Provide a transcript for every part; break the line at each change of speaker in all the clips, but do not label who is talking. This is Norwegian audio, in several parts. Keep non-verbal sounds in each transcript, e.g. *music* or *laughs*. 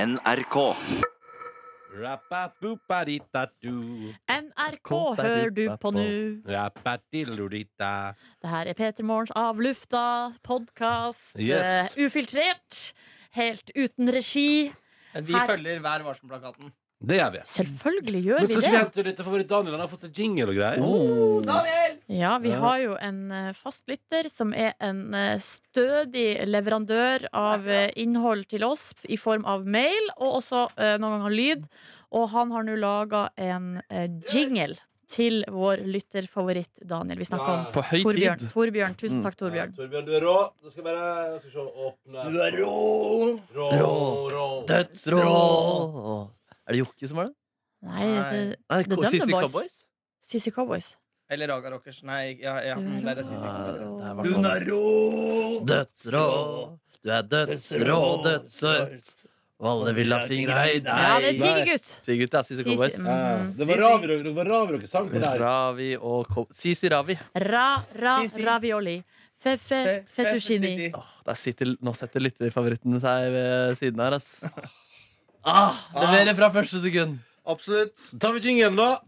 NRK.
Rappapuparitatu.
NRK hører du på nå.
Rappatillurita.
Det her er Peter Morgens Av lufta, podkast,
Yes.
ufiltrert, helt uten regi.
Vi
Her-
følger Vær varsom-plakaten.
Det gjør vi.
Selvfølgelig gjør
Men
vi
skal ikke vi
det.
hente litt favoritt Daniel? Han har fått seg jingle og greier.
Daniel!
Ja, vi
Ja.
har jo en eh, fast lytter som er en eh, stødig leverandør av eh, innhold til oss i form av mail, og også eh, noen ganger lyd. Og han har nå laga en eh, jingle til vår lytterfavoritt Daniel. Vi snakker om
Ja.
På høy
Torbjørn.
tid.
Torbjørn. Tusen takk,
Ja,
Torbjørn.
Torbjørn, du er rå. Da skal jeg bare jeg skal se, åpne
Du er rå,
Rå,
Rå.
rå.
dødsrå. Er det Jokke som er det?
Nei, det,
Nei,
The
Ko-
Dublin
Sissy
Boys.
Cowboys?
CC Cowboys.
Eller Raga Rockers. Nei, ja, ja, mm, det er rasistisk.
det er
Hun
er rå, dødsrå. Du er dødsrå, dødsrå. Alle vil ha fingra i
Ja, det er
deg.
Tigger gutt.
Sier gutta, Sissy Cowboys.
Sissy,
Ja, Det var
Sisi.
Ravi- det var Ravi-rockesang på der.
Ravi og Cow- Sisi Ravi.
Ra, ra,
Sisi.
ravioli. Fe-fe,
Fe-
Eh, fettuccini.
fettuccini.
Åh, der sitter, nå setter lytterfavorittene seg ved siden her, ass. Ah, Leverer fra første sekund.
Absolutt.
Da tar vi jinglen, da.
Åh,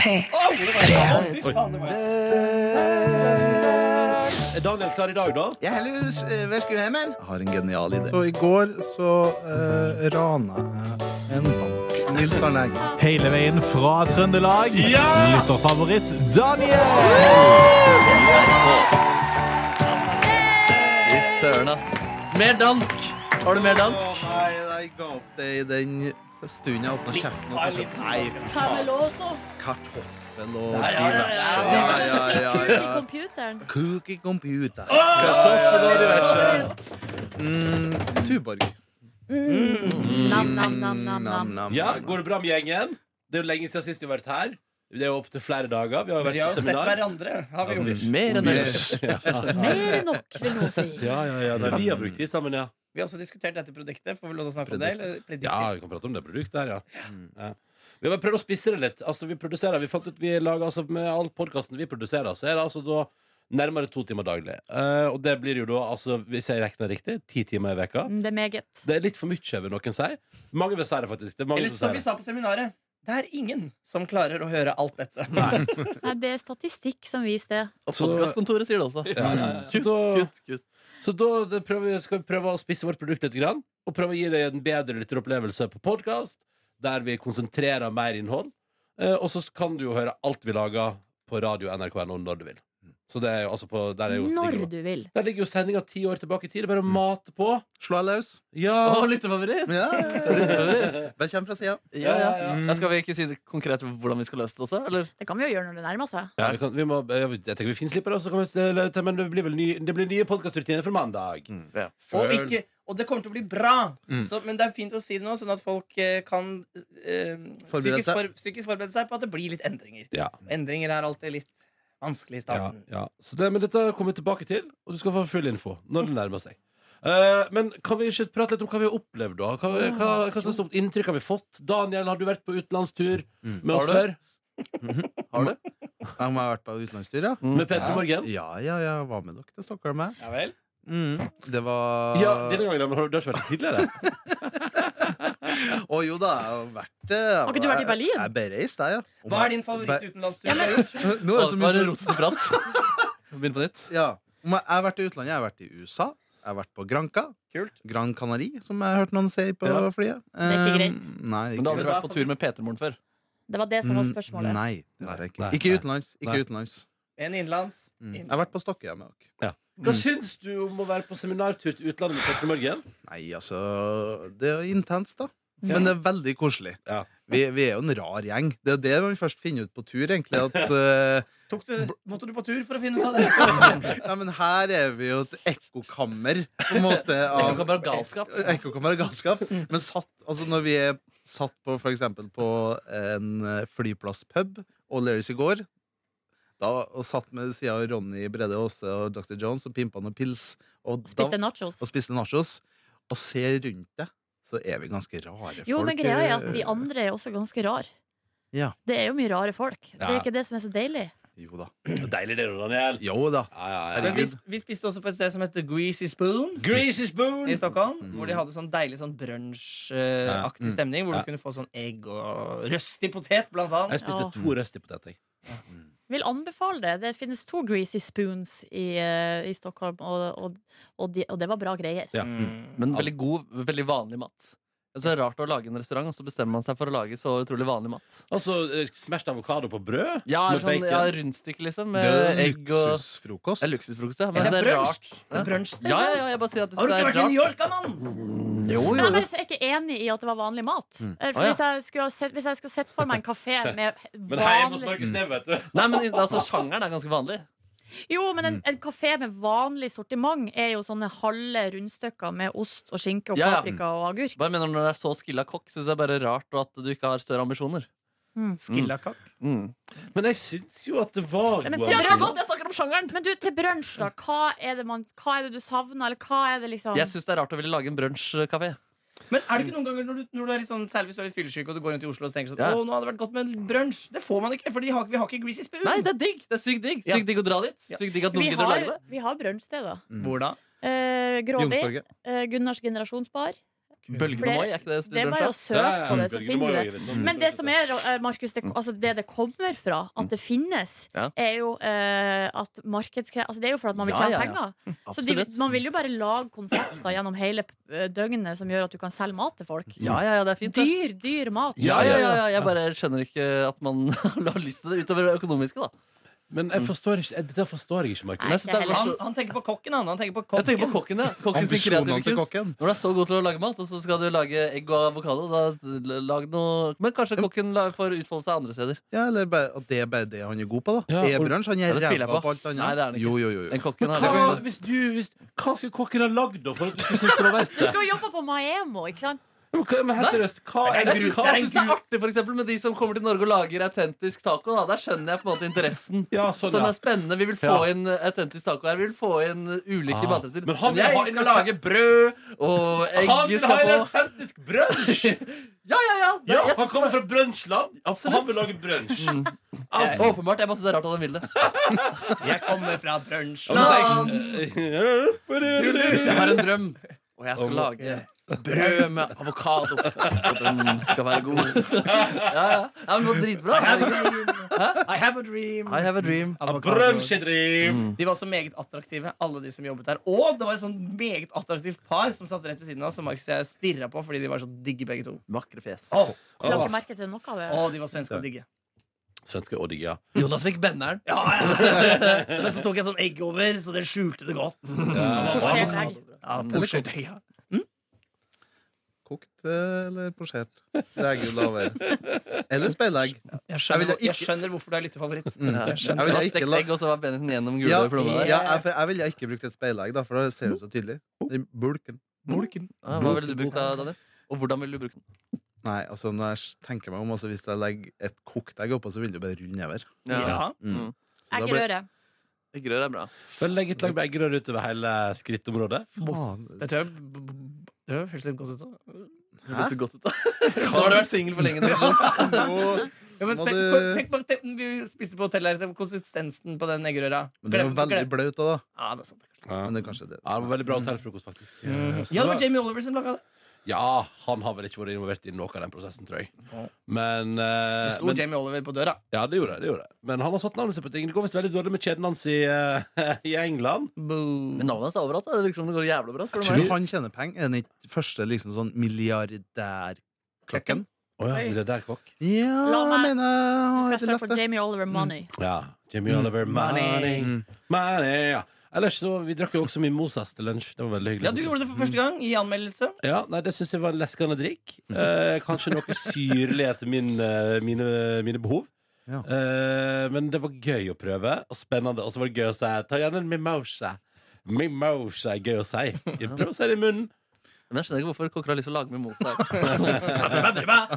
hvor var det? Åh, fy faen, det var det.
Er Daniel klar i dag, da?
Jeg heller Hva skulle jeg med? Har en genial idé. Så i går så uh, rana jeg en bank. Nils Arne Eggen.
Hele veien fra Trøndelag. Lytterfavoritt Daniel!
Fy søren, ass. Mer dansk! Har du mer dansk?
Å nei, jeg ga opp det i den stunden jeg åpna kjeften.
Ta en
Og
liten
nei,
pause.
Paveloso.
kartoffel og
Nei, ja, ja, ja, ja.
diverse. Ja,
Kuk i
ja, ja, ja.
computeren.
Cookie computer.
Kartoffel og diverse.
Mm, Tuborg.
Nam, nam, nam, nam, nam.
nam.
Ja, Går det bra med gjengen? Det er jo lenge siden sist vi har vært her. Det er jo opptil flere dager. Vi har jo
Vi
vært på
har jo sett
seminar.
hverandre. Har vi gjort.
Mer enn ellers.
Mer enn nok, vil noen si.
Ja, ja, ja, nei, Vi har brukt tid sammen, ja.
Vi har også diskutert dette produktet. Får vi lov til å snakke om det? Eller?
Ja, vi kan prate om det produktet her, ja. ja. Vi har bare prøvd å spisse det litt. Altså, vi produserer, vi fant ut vi lager, altså, Med all podkasten vi produserer, så er det altså da nærmere to timer daglig. Eh, og det blir jo da, altså, hvis jeg regner riktig, ti timer i veka
Mm, Det er meget.
Det er litt for mye, vil noen si. Mange vil si det, faktisk. Det er mange
Eller som
som
vi
sier det.
sa på seminaret, det er ingen som klarer å høre alt dette. *laughs*
Nei, det er statistikk som viser det.
Og Podkastkontoret sier det også.
Så da-
Kutt, kutt.
Så da det prøver, vi- skal vi prøve å spisse vårt produkt litt grann, og prøve å gi deg en bedre lytteropplevelse på podkast, der vi konsentrerer mer innhold. Eh, og så kan du jo høre alt vi lager på radio nrk.no når du vil. Så det er jo altså på Der, er jo,
Når
ligger, jo-
du vil.
der ligger jo sendinga ti år tilbake i tid. Det er bare å mate på.
Slå deg løs.
Mm. Ja!
Å, lyttefavoritt!
*laughs* Ja, ja, ja. Bare kjem fra sida.
Ja, ja. ja. Skal vi ikke si det konkret hvordan vi skal løse det også? Eller?
Det kan vi jo gjøre når det nærmer seg.
ja vi kan, vi må, jeg, jeg tenker vi finslipper det, så kan vi, eh, til- men det blir vel ny, det blir nye podkastrutiner for mandag.
Og,
Føl.
ikke, og det kommer til å bli bra!
Mm.
Så, men det er fint å si det nå, sånn at folk eh, kan eh, psykisk,
Forberede seg.
for, psykisk forberede seg på at det blir litt endringer.
Ja.
Endringer er alltid litt vanskelig i
Ja,
starten.
ja. Så det, men dette kommer vi tilbake til, og du skal få full info når det nærmer seg. Eh, men kan vi ikke prate litt om hva vi har opplevd, da? Hva, hva, hva slags inntrykk har vi fått? Daniel, har du vært på utenlandstur med oss
Har du?
før?
Har du?
Jeg må ha vært på utenlandstur, ja.
Med Petter i Morgen?
Ja, ja, ja. Hva med dere til Stockholm? jeg?
Ja vel?
Mm. Det var
Ja, denne gangen men har du du har ikke vært der tidligere.
Å jo da, jeg har vært Har
ikke du vært i Berlin?
Jeg er bereist, jeg, ja.
Hva er din
*laughs*
favoritt-utenlandstur? du har gjort?
favoritt? Nå
Å,
er det så
det
mye
var rotete prat. Begynn på nytt.
Ja. Om jeg jeg har vært i utlandet. Jeg har vært i USA. Jeg har vært på Granca.
Kult.
Gran Canari, som jeg har hørt noen si på
Ja.
flyet.
er ikke
Eh,
greit.
Nei,
Men du har
ikke
aldri vært på tur med Petermoren før?
Det var det som var
Mm,
spørsmålet.
Nei, det har jeg ikke.
Nei,
Ikke
nei.
utenlands. Ikke
Nei.
utenlands.
En innenlands.
Mm. Jeg har vært på Stokkehjem òg.
Hva syns du om å være på seminartur til utlandet med Petter i Morgen?
Nei, altså Det er jo intenst, da. Men det er veldig koselig.
Ja.
Vi, vi er jo en rar gjeng. Det er det man først finner ut på tur, egentlig. *laughs* At eh,
Tok du, måtte du på tur for å finne ut av det?
Nei, men her er vi jo et ekkokammer, på en måte.
Det
Av,
kan være galskap.
ekkokammer og galskap. Eh, Men satt, altså når vi er satt på for eksempel på en eh, flyplasspub og Lerris i går da, og satt med sida av Ronny Brede Aase og Dr. Jones og pimpa noen pils og, da-
Spiste nachos.
og spiste nachos, og ser rundt deg, så er vi ganske rare
Jo,
folk. eh,
men greia
Eh,
er at de andre er også ganske rare.
Ja.
Det er jo mye rare folk. Det
Ja.
er ikke det som er så deilig.
Jo da.
Deilig det, Daniel.
Jo da.
Ja, ja, ja.
Men vi, vi spiste også på et sted som heter Greasy Spoon
Greasy spoon!
i Stockholm. Hvor de hadde sånn deilig sånn brunsjaktig
Mm.
stemning. Hvor
Ja.
du kunne få sånn egg og røstig potet, blant
Jeg
annet.
spiste
Ja.
to røsti poteter. jeg.
Vil anbefale det. Det finnes to greasy spoons i, eh, i Stockholm, og, og, og, de, og det var bra greier.
Ja.
Mm.
Men veldig god, veldig vanlig mat. Altså, det er rart å lage en restaurant, og så bestemmer man seg for å lage så utrolig vanlig mat.
Altså eh, smashed avokado på brød.
Ja,
Med
sånn,
bacon.
ja Rundstykke, liksom.
det
Med
er
egg og
luksusfrokost.
ja, Luksusfrokost, ja. Men
Eller
det er
brunsj.
rart.
Det er
Ja,
brunsj,
ja,
liksom.
ja, jeg bare sier at det
Har du
er
ikke vært i New York,
rart. Mm.
da, mann?
Jo,
Men
jo.
jeg, er bare, så jeg er ikke enig i at det var vanlig mat. Eh, for
Mm. Å, ja.
hvis, jeg skulle ha sett, hvis jeg skulle sett for meg en
*laughs*
kafé med
Men hei, jeg må
vanlig
sparke snev, vet du.
Nei, men altså, sjangeren er ganske vanlig.
Jo, men en,
Mm.
en kafé med vanlig sortiment er jo sånne halve rundstykker med ost og skinke og
Ja, ja.
paprika og agurk.
Bare mener Når du er så skilla kokk, syns jeg bare rart og at du ikke har større ambisjoner.
Skillakakk.
Mm.
Men jeg syns jo at det var
Men
gode
til-
ambisjoner.
Jeg snakker om sjangeren!
Men du, til brunsj, da. Hva er det, man, hva er det du savner, eller hva er det liksom
Jeg syns det er rart å ville lage en brunsjkafé.
Mm.
Men er det ikke noen ganger når du, når du er litt sånn, særlig hvis du er litt fyllesyk og du går rundt i Oslo og tenker sånn
Ja.
Å, nå hadde det vært godt med en brunsj. Det får man ikke, for de har, vi har ikke Greasy Spoon.
Nei, det er digg! Det er sykt digg
Ja.
Sykt digg å dra dit.
Ja.
Sykt digg at noen
Vi
gidder å lage
har,
det. Mm.
vi har brunsjsteder.
Hvor da?
Eh, Grådig.
Youngstorget.
eh, Gunnars generasjonsbar.
Bølgene
Flere-
Moi, er ikke det
Det er bare å
brunsja?
søke på det, så
Bølgene må
finner du det.
jo gjøre sånn.
Men det som er, eh, Markus, det, altså det det kommer fra, at det finnes,
Mm. Ja.
er jo eh, at markedskre... Altså det er jo for at man vil
Ja,
tjene
ja, ja.
penger. Så de,
Absolutt.
man vil jo bare lage konsepter gjennom hele eh, døgnet som gjør at du kan selge mat til folk.
Ja, ja, ja, det er fint. det.
Dyr, dyr mat.
Ja, ja, ja, ja, jeg bare skjønner ikke at man *laughs* har lyst til det utover det økonomiske, da.
Men jeg forstår ikke, dette forstår jeg ikke, Markus.
Men jeg synes det er
heller.
Han,
så-
han tenker på kokken, han. Han tenker på
Jeg tenker
kokken.
på kokken, ja. Kokken sin kreative
Ambisjonene til
kunst.
kokken.
Når du er så god til å lage mat, og så skal du lage egg og avokado, da lag noe Men kanskje kokken la- får utfolde seg andre steder.
Ja, eller bare, at det er bare det han er god på, da.
Ja, og-
E-bransj. Han
Ja,
er
det tviler jeg
ræva
på.
på alt annet.
Nei, det er han ikke.
Jo, jo, jo. jo.
Den kokken har
Hva, hvis du, hvis, hva skulle kokken ha lagd, da? For at du skulle synes det var verdt
Du
det?
skal jo jobbe på Maemo, ikke sant?
*laughs* Men hva- Men helt seriøst, hva er
Jeg
det
syns
hva
jeg synes
synes
det er
du-
artig for eksempel, med de som kommer til Norge og lager autentisk taco. Da. Der skjønner jeg på en måte interessen.
Ja,
Sånn,
sånn, ja.
er spennende, Vi vil få
Ja.
inn autentisk taco her. Vi vil få inn
Ah.
ulike matretter.
Men han vil
jeg
ha
skal
en-
lage brød, og
Han
egg
vil ha
skal
en
på.
autentisk brunsj!
Ja, ja, ja!
*laughs*
Det,
Ja,
jeg
han
synes
kommer fra brunsjland, og
Absolutt.
han vil lage brunsj.
det er Åpenbart. Jeg bare syns det er rart at han vil det.
Jeg kommer fra brunsj.
*laughs*
Jeg har en drøm, og jeg skal lage brød med avokado. Og den skal være god. Ja, ja. Nei, men det var dritbra.
I have a dream.
I have a dream.
Brunsjedrim!
De var også meget attraktive, alle de som jobbet der. Og det var et sånn meget attraktivt par som satt rett ved siden av, som Markus og jeg stirra på fordi de var så digge begge to.
Vakre fjes.
Å,
La ikke merke til noe av det.
å, de var svenske og digge.
Svenske og digge, ja.
Jonas fikk benneren.
Ja, ja. Men så tok jeg sånn egg over, så det skjulte det godt.
Forsert egg.
Ja, posjert egg, ja.
Kokt eh, eller posjert? Det er gull over. Eller speilegg.
Jeg
Jeg
skjønner,
ville
jeg
ikke- Mm.
skjønner hvorfor du er lyttefavoritt. Jeg
Jeg
skjønner
ville
Jonas
ikke
stekte
la-
egg, og så var Bennetten gjennom gula
Ja,
i plomma der.
ja, jeg, for jeg ville ikke brukt et speilegg, da, for da ser du så tydelig. Den bulken.
Ja, Hva ville du brukt da, Daniel? Og hvordan ville du brukt den?
Nei, altså når jeg tenker meg om altså, Hvis jeg legger et kokt egg oppå, så vil det bare rulle nedover.
Ja.
Mm.
Mm.
Så da blir-
Eggerøre.
Eggerøre er bra.
Følg legg et lag med eggerør utover hele skrittområdet.
Faen.
Det tror jeg b- b- Det høres litt godt ut. da.
Det høres så godt ut da Nå har du vært singel for lenge.
*laughs*
Nå.
Nå-
Ja, men
Må
tenk,
du-
på, tenk, på, tenk, vi spiste på hotell her, tenk på konsistensen på den eggerøra.
Men det er jo
Glem- glem-
veldig blaut òg, da.
Ja, det er sant. det er kanskje.
Ja,
Men
det
det er kanskje det.
var Veldig bra hotellfrokost, faktisk.
Ja, det var Jamie Oliver som laga det.
Ja, han har vel ikke vært involvert i noe av den prosessen, tror jeg. Men, eh,
Det sto
men
Jamie Oliver på døra.
Ja, det gjorde jeg, det gjorde jeg. Men han har satt navnet sitt på ting. Det går visst veldig dårlig med kjeden hans i, eh, *laughs* i England.
*laughs* Men navnet hans er overalt. da. Det virker som det går jævlig bra. Spør du
Tror
meg.
du han tjener penger? Er han ikke første liksom sånn milliardærklokken?
Å ja, blir det der kokk?
Ja,
La
jeg
meg-
mener
Nå
jeg
skal jeg
har ikke
søke
lest
på
det.
Jamie Oliver Money.
Ja. Jimmy Oliver, Mm. money.
Mm.
Money, ja. Ellers så, Vi drakk jo også mimosas til lunsj. Det var veldig hyggelig.
Ja, Du gjorde det for første gang i anmeldelse.
Ja, nei, Det syns jeg var en leskende drikk. Eh, kanskje noe syrlig etter min, eh, mine, mine behov.
Ja.
Eh, men det var gøy å prøve, og spennende. Og så var det gøy å si ta gjerne en mimosa. Mimosa er gøy å si. Prøv å si det i munnen.
Men jeg skjønner ikke hvorfor kokker har lyst til å lage mimosa. *laughs*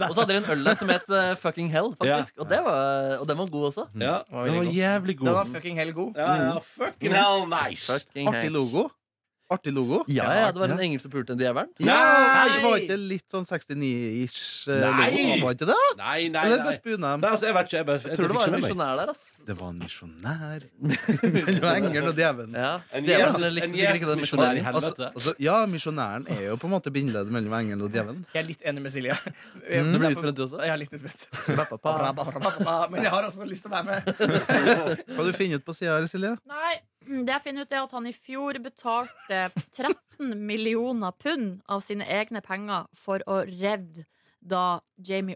Og så hadde de en øl der som het eh, Fucking Hell, faktisk. Og, det var, og den var god også.
Ja,
var
Den
veldig
var jævlig
Den var
god. Mm.
fucking hell god.
Ja, ja, fucking hell nice.
Fucking
Artig
hell.
logo. Artig logo.
Ja, ja, det var en engel som pulte en djevelen.
Nei,
Nei!
det var ikke litt sånn 69-ish eh,
Nei!
logo? Var ikke det?
Nei, nei,
Eller
nei.
bare spune
nei altså, jeg vet ikke. Jeg, bare, jeg,
Jeg tror det var
fikk
en
ikke med meg.
misjonær der, ass.
Det var en misjonær. *laughs* det var engelen og djevelen.
Ja,
En
djevelen
Jesus-
likte
en
sikkert ikke den
Jesus-misjonær i
misjonæren.
helvete.
Altså, ja, misjonæren er jo på en måte bindeleddet mellom engelen og djevelen.
Jeg er litt enig med Silje. Jeg,
Du ble
derfor-
utbrent, du også?
Jeg er litt utbrent. Rabababa. *laughs* Men jeg har også lyst til å være med.
Hva har du funnet ut på sida her, Silje?
Nei, det jeg finner ut er at han i fjor betalte 13 millioner pund av sine egne penger for å redde da Jamie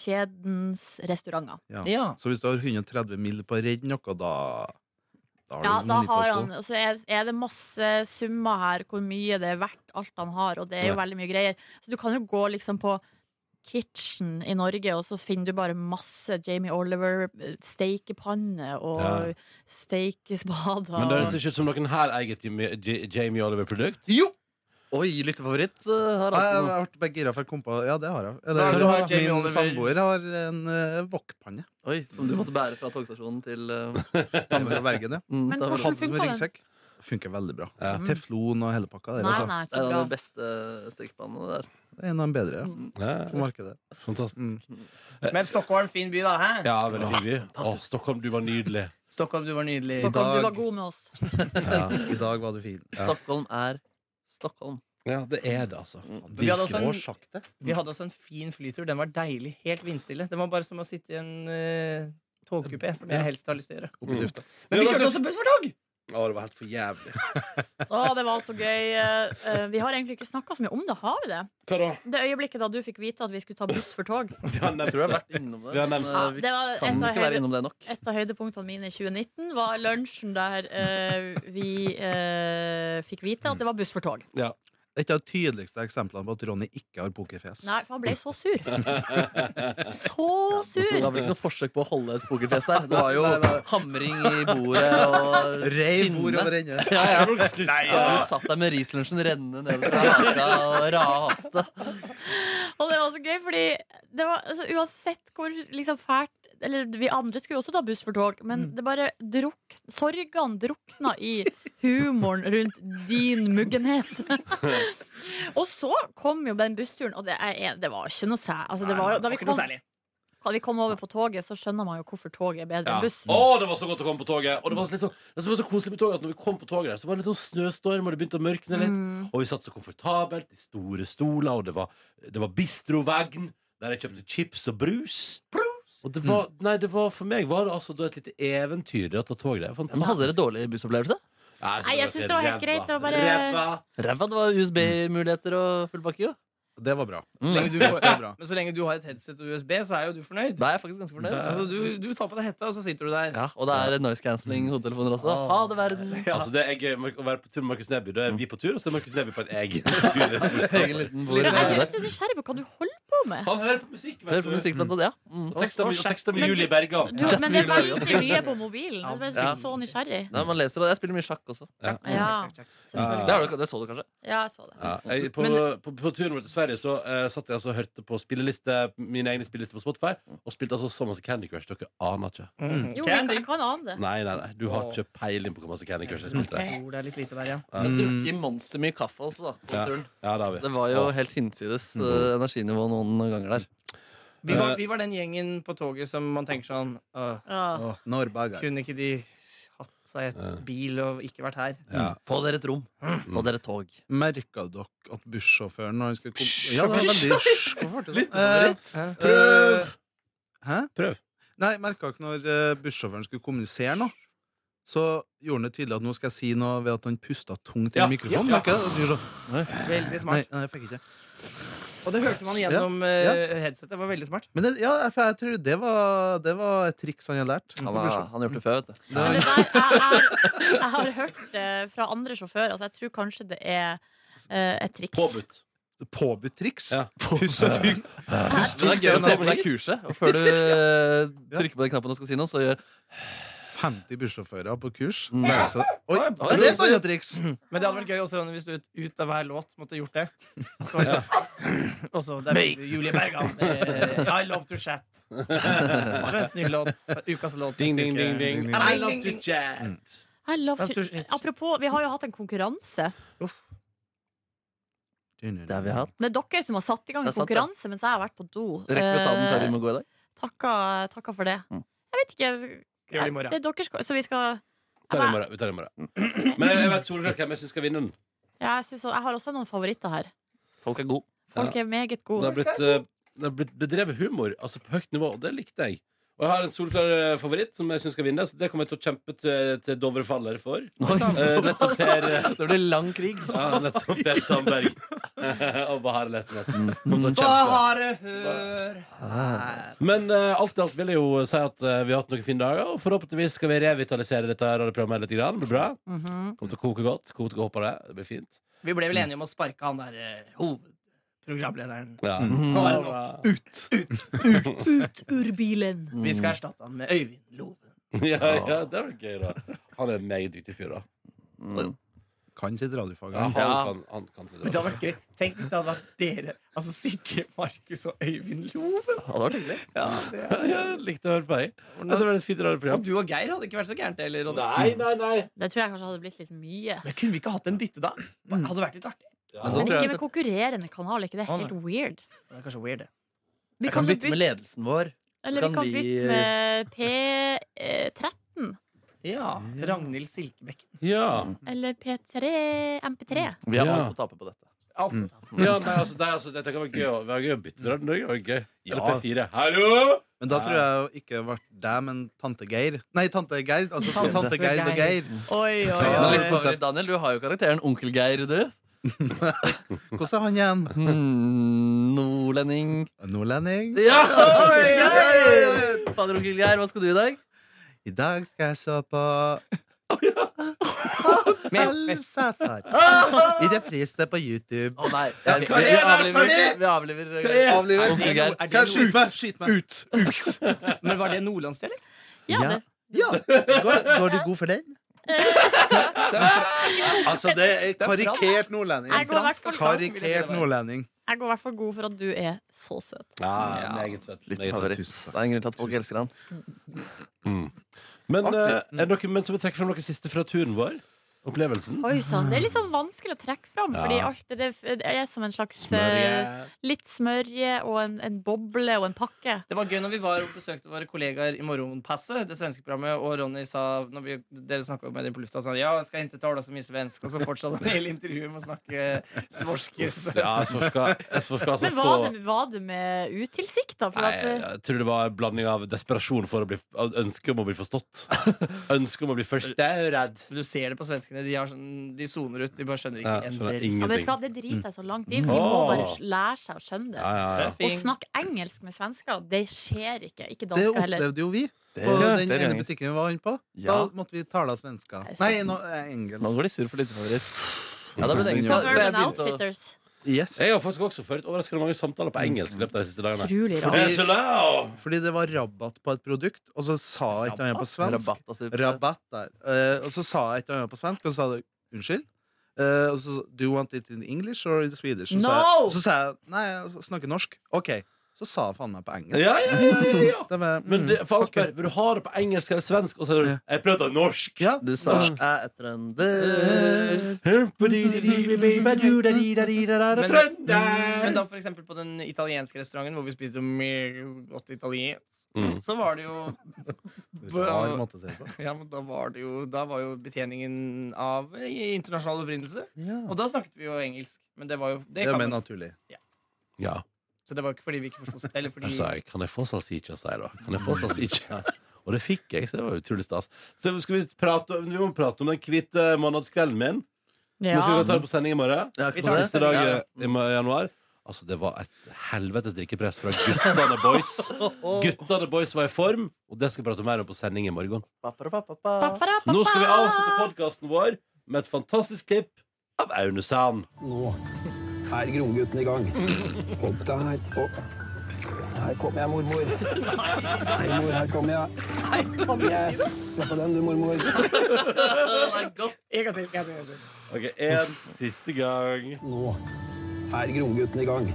Oliver-kjedens restauranter.
Ja.
Så hvis du har 130 mil på å redde noe, da Da har
Ja, da
du noe
har
litt å
han,
stå.
og så er, er det masse summer her, hvor mye det er verdt, alt han har, og det er jo
Ja.
veldig mye greier. Så du kan jo gå liksom på Kitchen i Norge, og så finner du bare masse Jamie Oliver, eh, steikepanne og
Ja.
steikespader.
Men det
og-
høres ikke ut som noen her eier Jimmy- J- Jamie Oliver-produkt.
Jo!
Oi, lyttefavoritt eh, har
Jeg, jeg,
hatt
jeg ble bare gira for jeg kom på Ja, det har jeg.
Da har
Eller,
du har Jamie
min
Oliver.
samboer har en uh, wokpanne.
Oi, som du måtte bære fra togstasjonen til eh,
Fra Bergen, ja.
mm,
Men
da var
hvordan
det-
Hadde som
funka den?
ryggsekk. Funker veldig bra.
Ja.
Teflon og hele pakka. Der,
Nei,
altså.
nei,
Det er
så
en av de
bra.
beste stekepanene der.
Det er en av de bedre ja,
Ja,
på markedet.
fantastisk.
Mm.
Men Stockholm, fin by, da. Hæ?
Ja, veldig fin by. Å, Stockholm, du var nydelig.
Stockholm, du var nydelig.
Stockholm.
Kom, du
dag-
var god med oss.
Ja,
I dag var du fin.
Ja.
Stockholm er Stockholm.
ja det er det, altså.
Vi hadde også en-
Virkelig sagt det.
Vi hadde også en fin flytur. Den var deilig. Helt vindstille. Den var bare som å sitte i en uh, togkupé, som jeg helst har lyst til å gjøre.
Oppe i lufta.
Men vi
Det var
kjørte
så-
også buss for tog!
Å, det var helt for jævlig.
Å, det var så gøy. Eh, eh, Vi har egentlig ikke snakka så mye om det, har vi det?
Hva da?
Det øyeblikket da du fikk vite at vi skulle ta buss for tog.
Vi har
Jeg
nevnt
tror jeg har
det.
vært innom det.
Vi har nevnt
men,
Ja,
eh, vi
det var
kan
et av
ikke
høyde-
være innom det nok.
Et av høydepunktene mine i 2019 var lunsjen der eh, vi eh, fikk vite at det var buss for tog.
Et av de tydeligste eksemplene på at Ronny ikke har pokerfjes.
Nei, for han ble så sur. Så
Det
sur!
var vel ikke noe forsøk på å holde et pokerfjes der. Det var jo hamring i bordet og
Rei bord over
sinne.
ende.
Ja, ja.
Nei,
Ja, du satt der med rislunsjen rennende nedover fra haka og raste.
Og det var så gøy, fordi det var, altså, uansett hvor liksom fælt eller Vi andre skulle jo også ta buss for tog, men det bare druk, sorgene drukna i humoren rundt din muggenhet. *laughs* og så kom jo den bussturen, og det, er, det var ikke noe sæ... Altså, det var, jo- da, vi
ikke noe
kom,
særlig.
da vi kom over på toget, så skjønner man jo hvorfor toget er bedre
Ja.
enn buss.
Å, det var så godt å komme på toget! Og det var, så litt sånn, det som var så koselig med toget at når vi kom på toget der, så var det litt sånn snøstorm, og det begynte å mørkne litt.
Mm.
Og vi satt så komfortabelt i store stoler, og det var, det var bistrovegn, der jeg kjøpte chips og brus. Og det var, nei, det var, for meg var det altså da et lite eventyr det å ta toget. Det er
Men hadde dere
fantastisk.
dårlig bussopplevelse?
Nei, jeg synes det var helt greit, det var bare-
Ræva.
Ræva, det var USB-muligheter og full pakke, jo.
Det var bra.
Mm.
Men, du
Det var bra.
men så lenge du har et headset og USB, så er jo du fornøyd.
Da er jeg faktisk ganske fornøyd.
Altså, du, du tar på deg hetta, og så sitter du der.
Ja, og det er noise cancelling hodetelefoner også. Ha det, verden.
Altså, det er gøy å være på tur med Markus Neby. Da er vi på tur, og så er Markus Neby på en
*laughs*
egen tur.
Egen liten bord i
Men jeg er
hodet
litt
der.
så nysgjerrig på hva du holder på med.
Han hører på musikk,
Hør
vet
på
du.
musikk blant annet, ja. Mm.
Og tekster med- og tekster med
Men
Julie Bergan.
Du, men det er veldig mye på mobilen.
Ja.
Jeg ble så- så nysgjerrig.
Nei, man leser, og jeg spiller mye sjakk også.
Ja, selvfølgelig.
Det, har du, det så du kanskje?
Ja, jeg så det.
Ja, jeg, på, på, på turen vår til Sverige så eh, satt jeg altså og hørte på spilleliste mine egne spillelister på Spotify, og spilte altså så masse Candy Crush. Dere aner ikke.
Mm.
Jo, men
Candy.
jeg kan ane det.
Nei, nei, nei, du har ikke peiling på hvor masse Candy Crush jeg spilte.
Jeg tror det er litt lite der, ja.
Jeg drukket monster mye kaffe også, da. På
Ja.
turen.
Ja, det har vi.
Det var jo helt hinsides eh, energinivå noen ganger der.
Vi var, vi var den gjengen på toget som man tenker sånn «Åh,
Ja.
Åh, Norrberg her.
Kunne ikke de hatt seg et bil og ikke vært her?
Ja.
På dere et rom. På dere et tog.
Merka dere at bussjåføren når han skulle komme Ja, det var veldig Hysj, hvorfor ble det sånn? Eh, eh, Hæ?
Prøv.
Nei, merka dere når eh, bussjåføren skulle kommunisere noe? Så gjorde han det tydelig at nå skal jeg si noe ved at han pusta tungt i
Ja,
mikrofonen.
ja, ja.
merket jeg? Og du gjorde sånn,
Veldig
Nei,
smart.
nei, jeg fikk ikke.
Og det hørte man gjennom
ja.
eh, headsetet. Det var veldig smart.
Men det, ja, for jeg tror det var, det var et triks han hadde lært.
Han har han har gjort det før, vet du.
Men det der, jeg, er, jeg har hørt det fra andre sjåfører. Altså, jeg tror kanskje det er eh, et triks.
Påbudt.
Påbudt triks?
Ja.
Puste tungt.
Men det er gøy å se på det kurset. Og før du eh, *laughs* trykker på den knappen og skal si noe, så gjør
50 bussjåfører på kurs.
Mm.
Lærer seg- Oi,
Oi,
ja, det er sånne triks!
Men det hadde vært gøy også Ronny, hvis du ut, ut av hver låt måtte gjort det. Så var det sånn. Og så der var Julie Bergan. eh, I love to chat. Det var en snill låt. Ukas låt.
Ding,
neste
ding,
uke.
ding, ding.
Nei,
I love to
ding, ding.
chat.
I love
Ja,
to...
tusen hit.
Apropos, vi har jo hatt en konkurranse.
Det har vi hatt.
Det er dere som har satt i gang en
Det er sant,
konkurranse mens jeg har vært på do.
Rekker vi å ta den før vi må gå i dag?
Takka, takka for det.
Mm.
Jeg vet ikke. eh,
Gjør det i morgen.
er dere skal, så vi skal
Vi tar det i morgen. Vi tar det i morgen. Men jeg, jeg vet soleklart hvem jeg syns skal vinne den.
ja, jeg, synes, også- jeg har også noen favoritter her.
Folk er gode.
Folk er meget
Det har
gode.
blitt, eh, det har blitt bedrevet humor altså på høyt nivå, og det likte jeg. Og jeg har en solklar eh, favoritt som jeg syns skal vinne. Så det kommer jeg til å kjempe til, til Dovre faller for.
Oi, *laughs*
Eh,
så-
nettopp Per eh,
sånn. det blir lang krig.
ja, Nettopp Per *laughs* Sandberg og Bahar Letnes. Kommer til å kjempe.
Bare hør her.
Men eh, alt i alt vil jeg jo si at eh, vi har hatt noen fine dager, og forhåpentligvis skal vi revitalisere dette her radioprogrammet litt. Grann. Det blir bra.
Mhm.
Kommer til å koke godt. Kommer til å gå opp av det. Det blir fint.
Vi ble vel enige om å sparke han der eh, hovedprogramlederen.
Ja.
Mm.
Nå er det nok.
Urbilen.
Vi skal erstatte han med Øyvind Loven.
*laughs* Ja, ja, det var gøy, da. Han er en meget dyktig fyr, da.
Mm.
Kan sitt radiofag.
Ja, han,
Ja.
Kan, han kan sitt
Men det hadde vært gøy. Tenk hvis det hadde vært dere. Altså Sigge, Markus og Øyvind Loven.
Ja, det var hyggelig.
Ja, det er.
Jeg likte å høre på deg. Dette var et fint radioprogram.
Og du og Geir hadde ikke vært så gærent heller. Ronny.
Nei, nei, nei.
Det tror jeg kanskje hadde blitt litt mye.
Men kunne vi ikke hatt en bytte da? Hadde vært litt artig.
Ja.
Men
tror jeg
ikke
at-
med konkurrerende kanal. ikke det?
Å, nei.
Helt weird.
Det er kanskje weird, det.
Vi
Jeg kan
jo
bytte med ledelsen vår.
Eller vi
Kan
kan
vi-
bytte med P13
Ja. Ragnhild Silkebekken.
ja.
eller P3 MP3.
Vi har
Ja.
alt å tape på dette.
Alt å ta på.
Ja, nei, altså, det, er- altså, dette kan være gøy, å- være gøy å bytte med Radio Norge. var det Gøy. Eller
Ja.
P4. Hallo!
Men da tror jeg jo ikke det var deg, men tante Geir. Nei, tante Geir. Altså
Tante
tante, Geir og
Geir.
Geir.
Mm.
Oi, oi,
Ja,
Men
det
litt
er
favoritt, Daniel, du har jo karakteren Onkel Geir, du.
Hvordan er han igjen?
Hmm, nordlending.
Nordlending.
Ja!
ja, ja,
Fader, Onkel Geir, hva skal du i dag?
I dag skal jeg se på Alsasar. I reprise på YouTube.
Å nei. Jeg, vi,
hva
vi
er det? Hva er
avliver,
det?
vi avliver eh,
Avliver.
Onkel
Er
Geir.
det- er det
Kan jeg
noe-
skyte meg? Skyt meg. Ut!
Men var det nordlandsdialekt?
Ja,
Ja.
det.
Ja. Går, går du god for
*laughs*
den? altså, det er karikert nordlending.
Jeg går i hvert fall-
Karikert nordlending.
Jeg går i hvert fall god for at du er så søt.
Ja,
Ja.
Meget søtt.
Litt
meget søtt.
favoritt.
tusen
Det er en grunn til at folk elsker han.
Men eh,
Artig.
er det noen menn som vil trekke fram noe siste fra turen vår? Opplevelsen?
Oi sann. Det er litt sånn vanskelig å trekke fram,
Ja.
fordi alt det, det er som en slags eh, litt smørje og en, en boble og en pakke.
Det var gøy når vi var og besøkte våre kollegaer i Morgenpasset, det svenske programmet, og Ronny sa når vi, Dere snakka med dem på lufta og sa ja, jeg skal ikke tale så mye svensk, og så fortsatte han hele intervjuet med å snakke svorske.
Ja, jeg skal, jeg skal altså
Men var
så
det, var det med utilsikta? For
Nei,
at, eh,
jeg tror det var en blanding av desperasjon for å bli av ønske om å bli forstått. Ønske om å bli forstått.
Du ser det på svenskene. De, har sånn, de soner ut. De bare skjønner ikke
Ja,
en
skjønner
dritt.
ja, men vet
ingenting.
du hva, det driter jeg så langt i. Vi må
Åh.
bare lære seg å skjønne det.
Ja, ja, ja.
Å
Surfing.
snakke engelsk med svensker, det skjer ikke. Ikke
Det
dansker heller.
opplevde jo vi på
Ja,
den
det er
ene
gøy.
butikken vi var inne på. Da
Ja.
måtte vi tale svenska.
Jeg
Nei,
ser-
no, eh,
Nå
engelsk.
går de sur for lyttefavoritt. Ja, da ble det engelsk.
Ja,
Så, så jeg
Urban
begynte å
Outfitters.
Yes.
Jeg har faktisk også ført overraskende mange samtaler på engelsk i løpet av de siste dagene.
Utrolig
Det
rart.
er så loud!
Fordi det var rabatt på et produkt, og så sa jeg et eller annet på svensk.
Rabatt, altså.
Rabatt der. Eh, og så sa jeg et eller annet på svensk, og så sa du unnskyld. Eh, og så Do you want it in English or in Swedish? Og Så, sa
No!
jeg, så sa jeg nei, jeg snakker norsk. OK. Så sa jeg faen meg på engelsk.
Ja, ja, ja, ja, ja.
Det var, mm,
Men det, for han
ok.
spør vil du ha det på engelsk eller svensk, og så sier du
Ja.
'jeg prøvde norsk'.
ja,
Du sa
norsk.
«Jeg er trønder.
Men da for eksempel på den italienske restauranten hvor vi spiste meget godt italiensk,
Mm.
så var det jo *laughs*
Rar måte å si det på.
Ja, men da var det jo Da var jo betjeningen av eh, internasjonal opprinnelse.
Ja.
Og da snakket vi jo engelsk. Men det var jo det
Det er
kan
mer
man,
naturlig.
Ja.
Så det var jo ikke fordi vi ikke forsto
*laughs*
Eller fordi
Jeg sa 'kan jeg få salsiccia', sa jeg da. Kan jeg få salsiccia? *laughs* Og det fikk jeg, så det var utrolig stas. Så skal vi, prate, vi må prate om den hvite månedskvelden min. Men skal vi
Ja.
ta det på sending i morgen?
Ja,
Vi tar
ikke på
det.
Siste dag eh, i ma- januar. Altså, det var et helvetes drikkepress fra guttene boys. Guttene boys var i form, og det skal vi prate mer om på sending i morgen.
Paparapapa.
Nå skal vi avslutte podkasten vår med et fantastisk klipp av Aune Sand.
Nå er Gromgutten i gang. Og der og Her kommer jeg, mormor. Hei, mor, her kommer jeg. Yes! Se på den, du, mormor.
En gang til, en gang til, en gang til.
Ok, En siste gang.
Nå er Gromgutten i gang.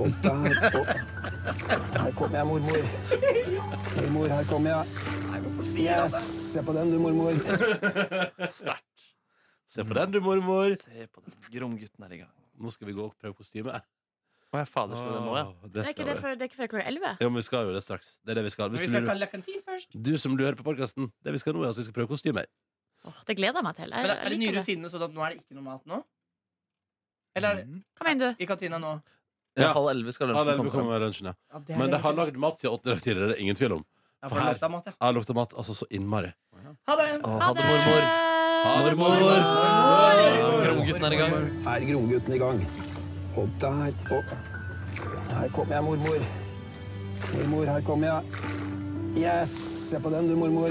Og der og Her kommer jeg, mormor. Mormor, her kommer jeg. Yes! Se på den, du, mormor.
Sterkt.
Se på den, du, mormor.
Se på den Gromgutten er i gang.
Nå skal vi gå og prøve kostyme.
Å, jeg fader skal det nå, ja.
Åh, det
Er ikke
skal
det,
vi.
for, det er ikke før klokka elleve?
Ja, men vi skal jo det straks. Det er det vi skal. Hvis
Vi
du,
skal
lurer,
kalle lakantin først.
du som lurer på podkasten, det vi skal nå, er at vi skal prøve kostymer.
Åh, det gleder jeg meg til. Jeg,
Men er det
jeg
nye
liker det.
rutiner, sånn at nå er det ikke noe mat nå? Eller
Mm.
er det
Hva mener du?
i kantina nå?
Ja.
Halv elleve skal
Alle
lunsjen
elleve
komme. fram.
kommer med lunsjen, ja. Men det har lagd mat siden åtte dager tidligere, det er ingen tvil om. for
Ja, for det
her-
lukter mat, ja.
Jeg har lukta mat altså så innmari.
Ha det!
Å, Ha det, mormor.
Ha det, mormor!
Gromgutten er i gang.
Er Gromgutten i gang? Og der og Her kommer jeg, mormor. Mormor, her kommer jeg. Yes! Se på den, du, mormor.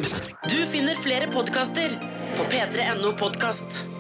Du finner flere podkaster på p3.no podkast.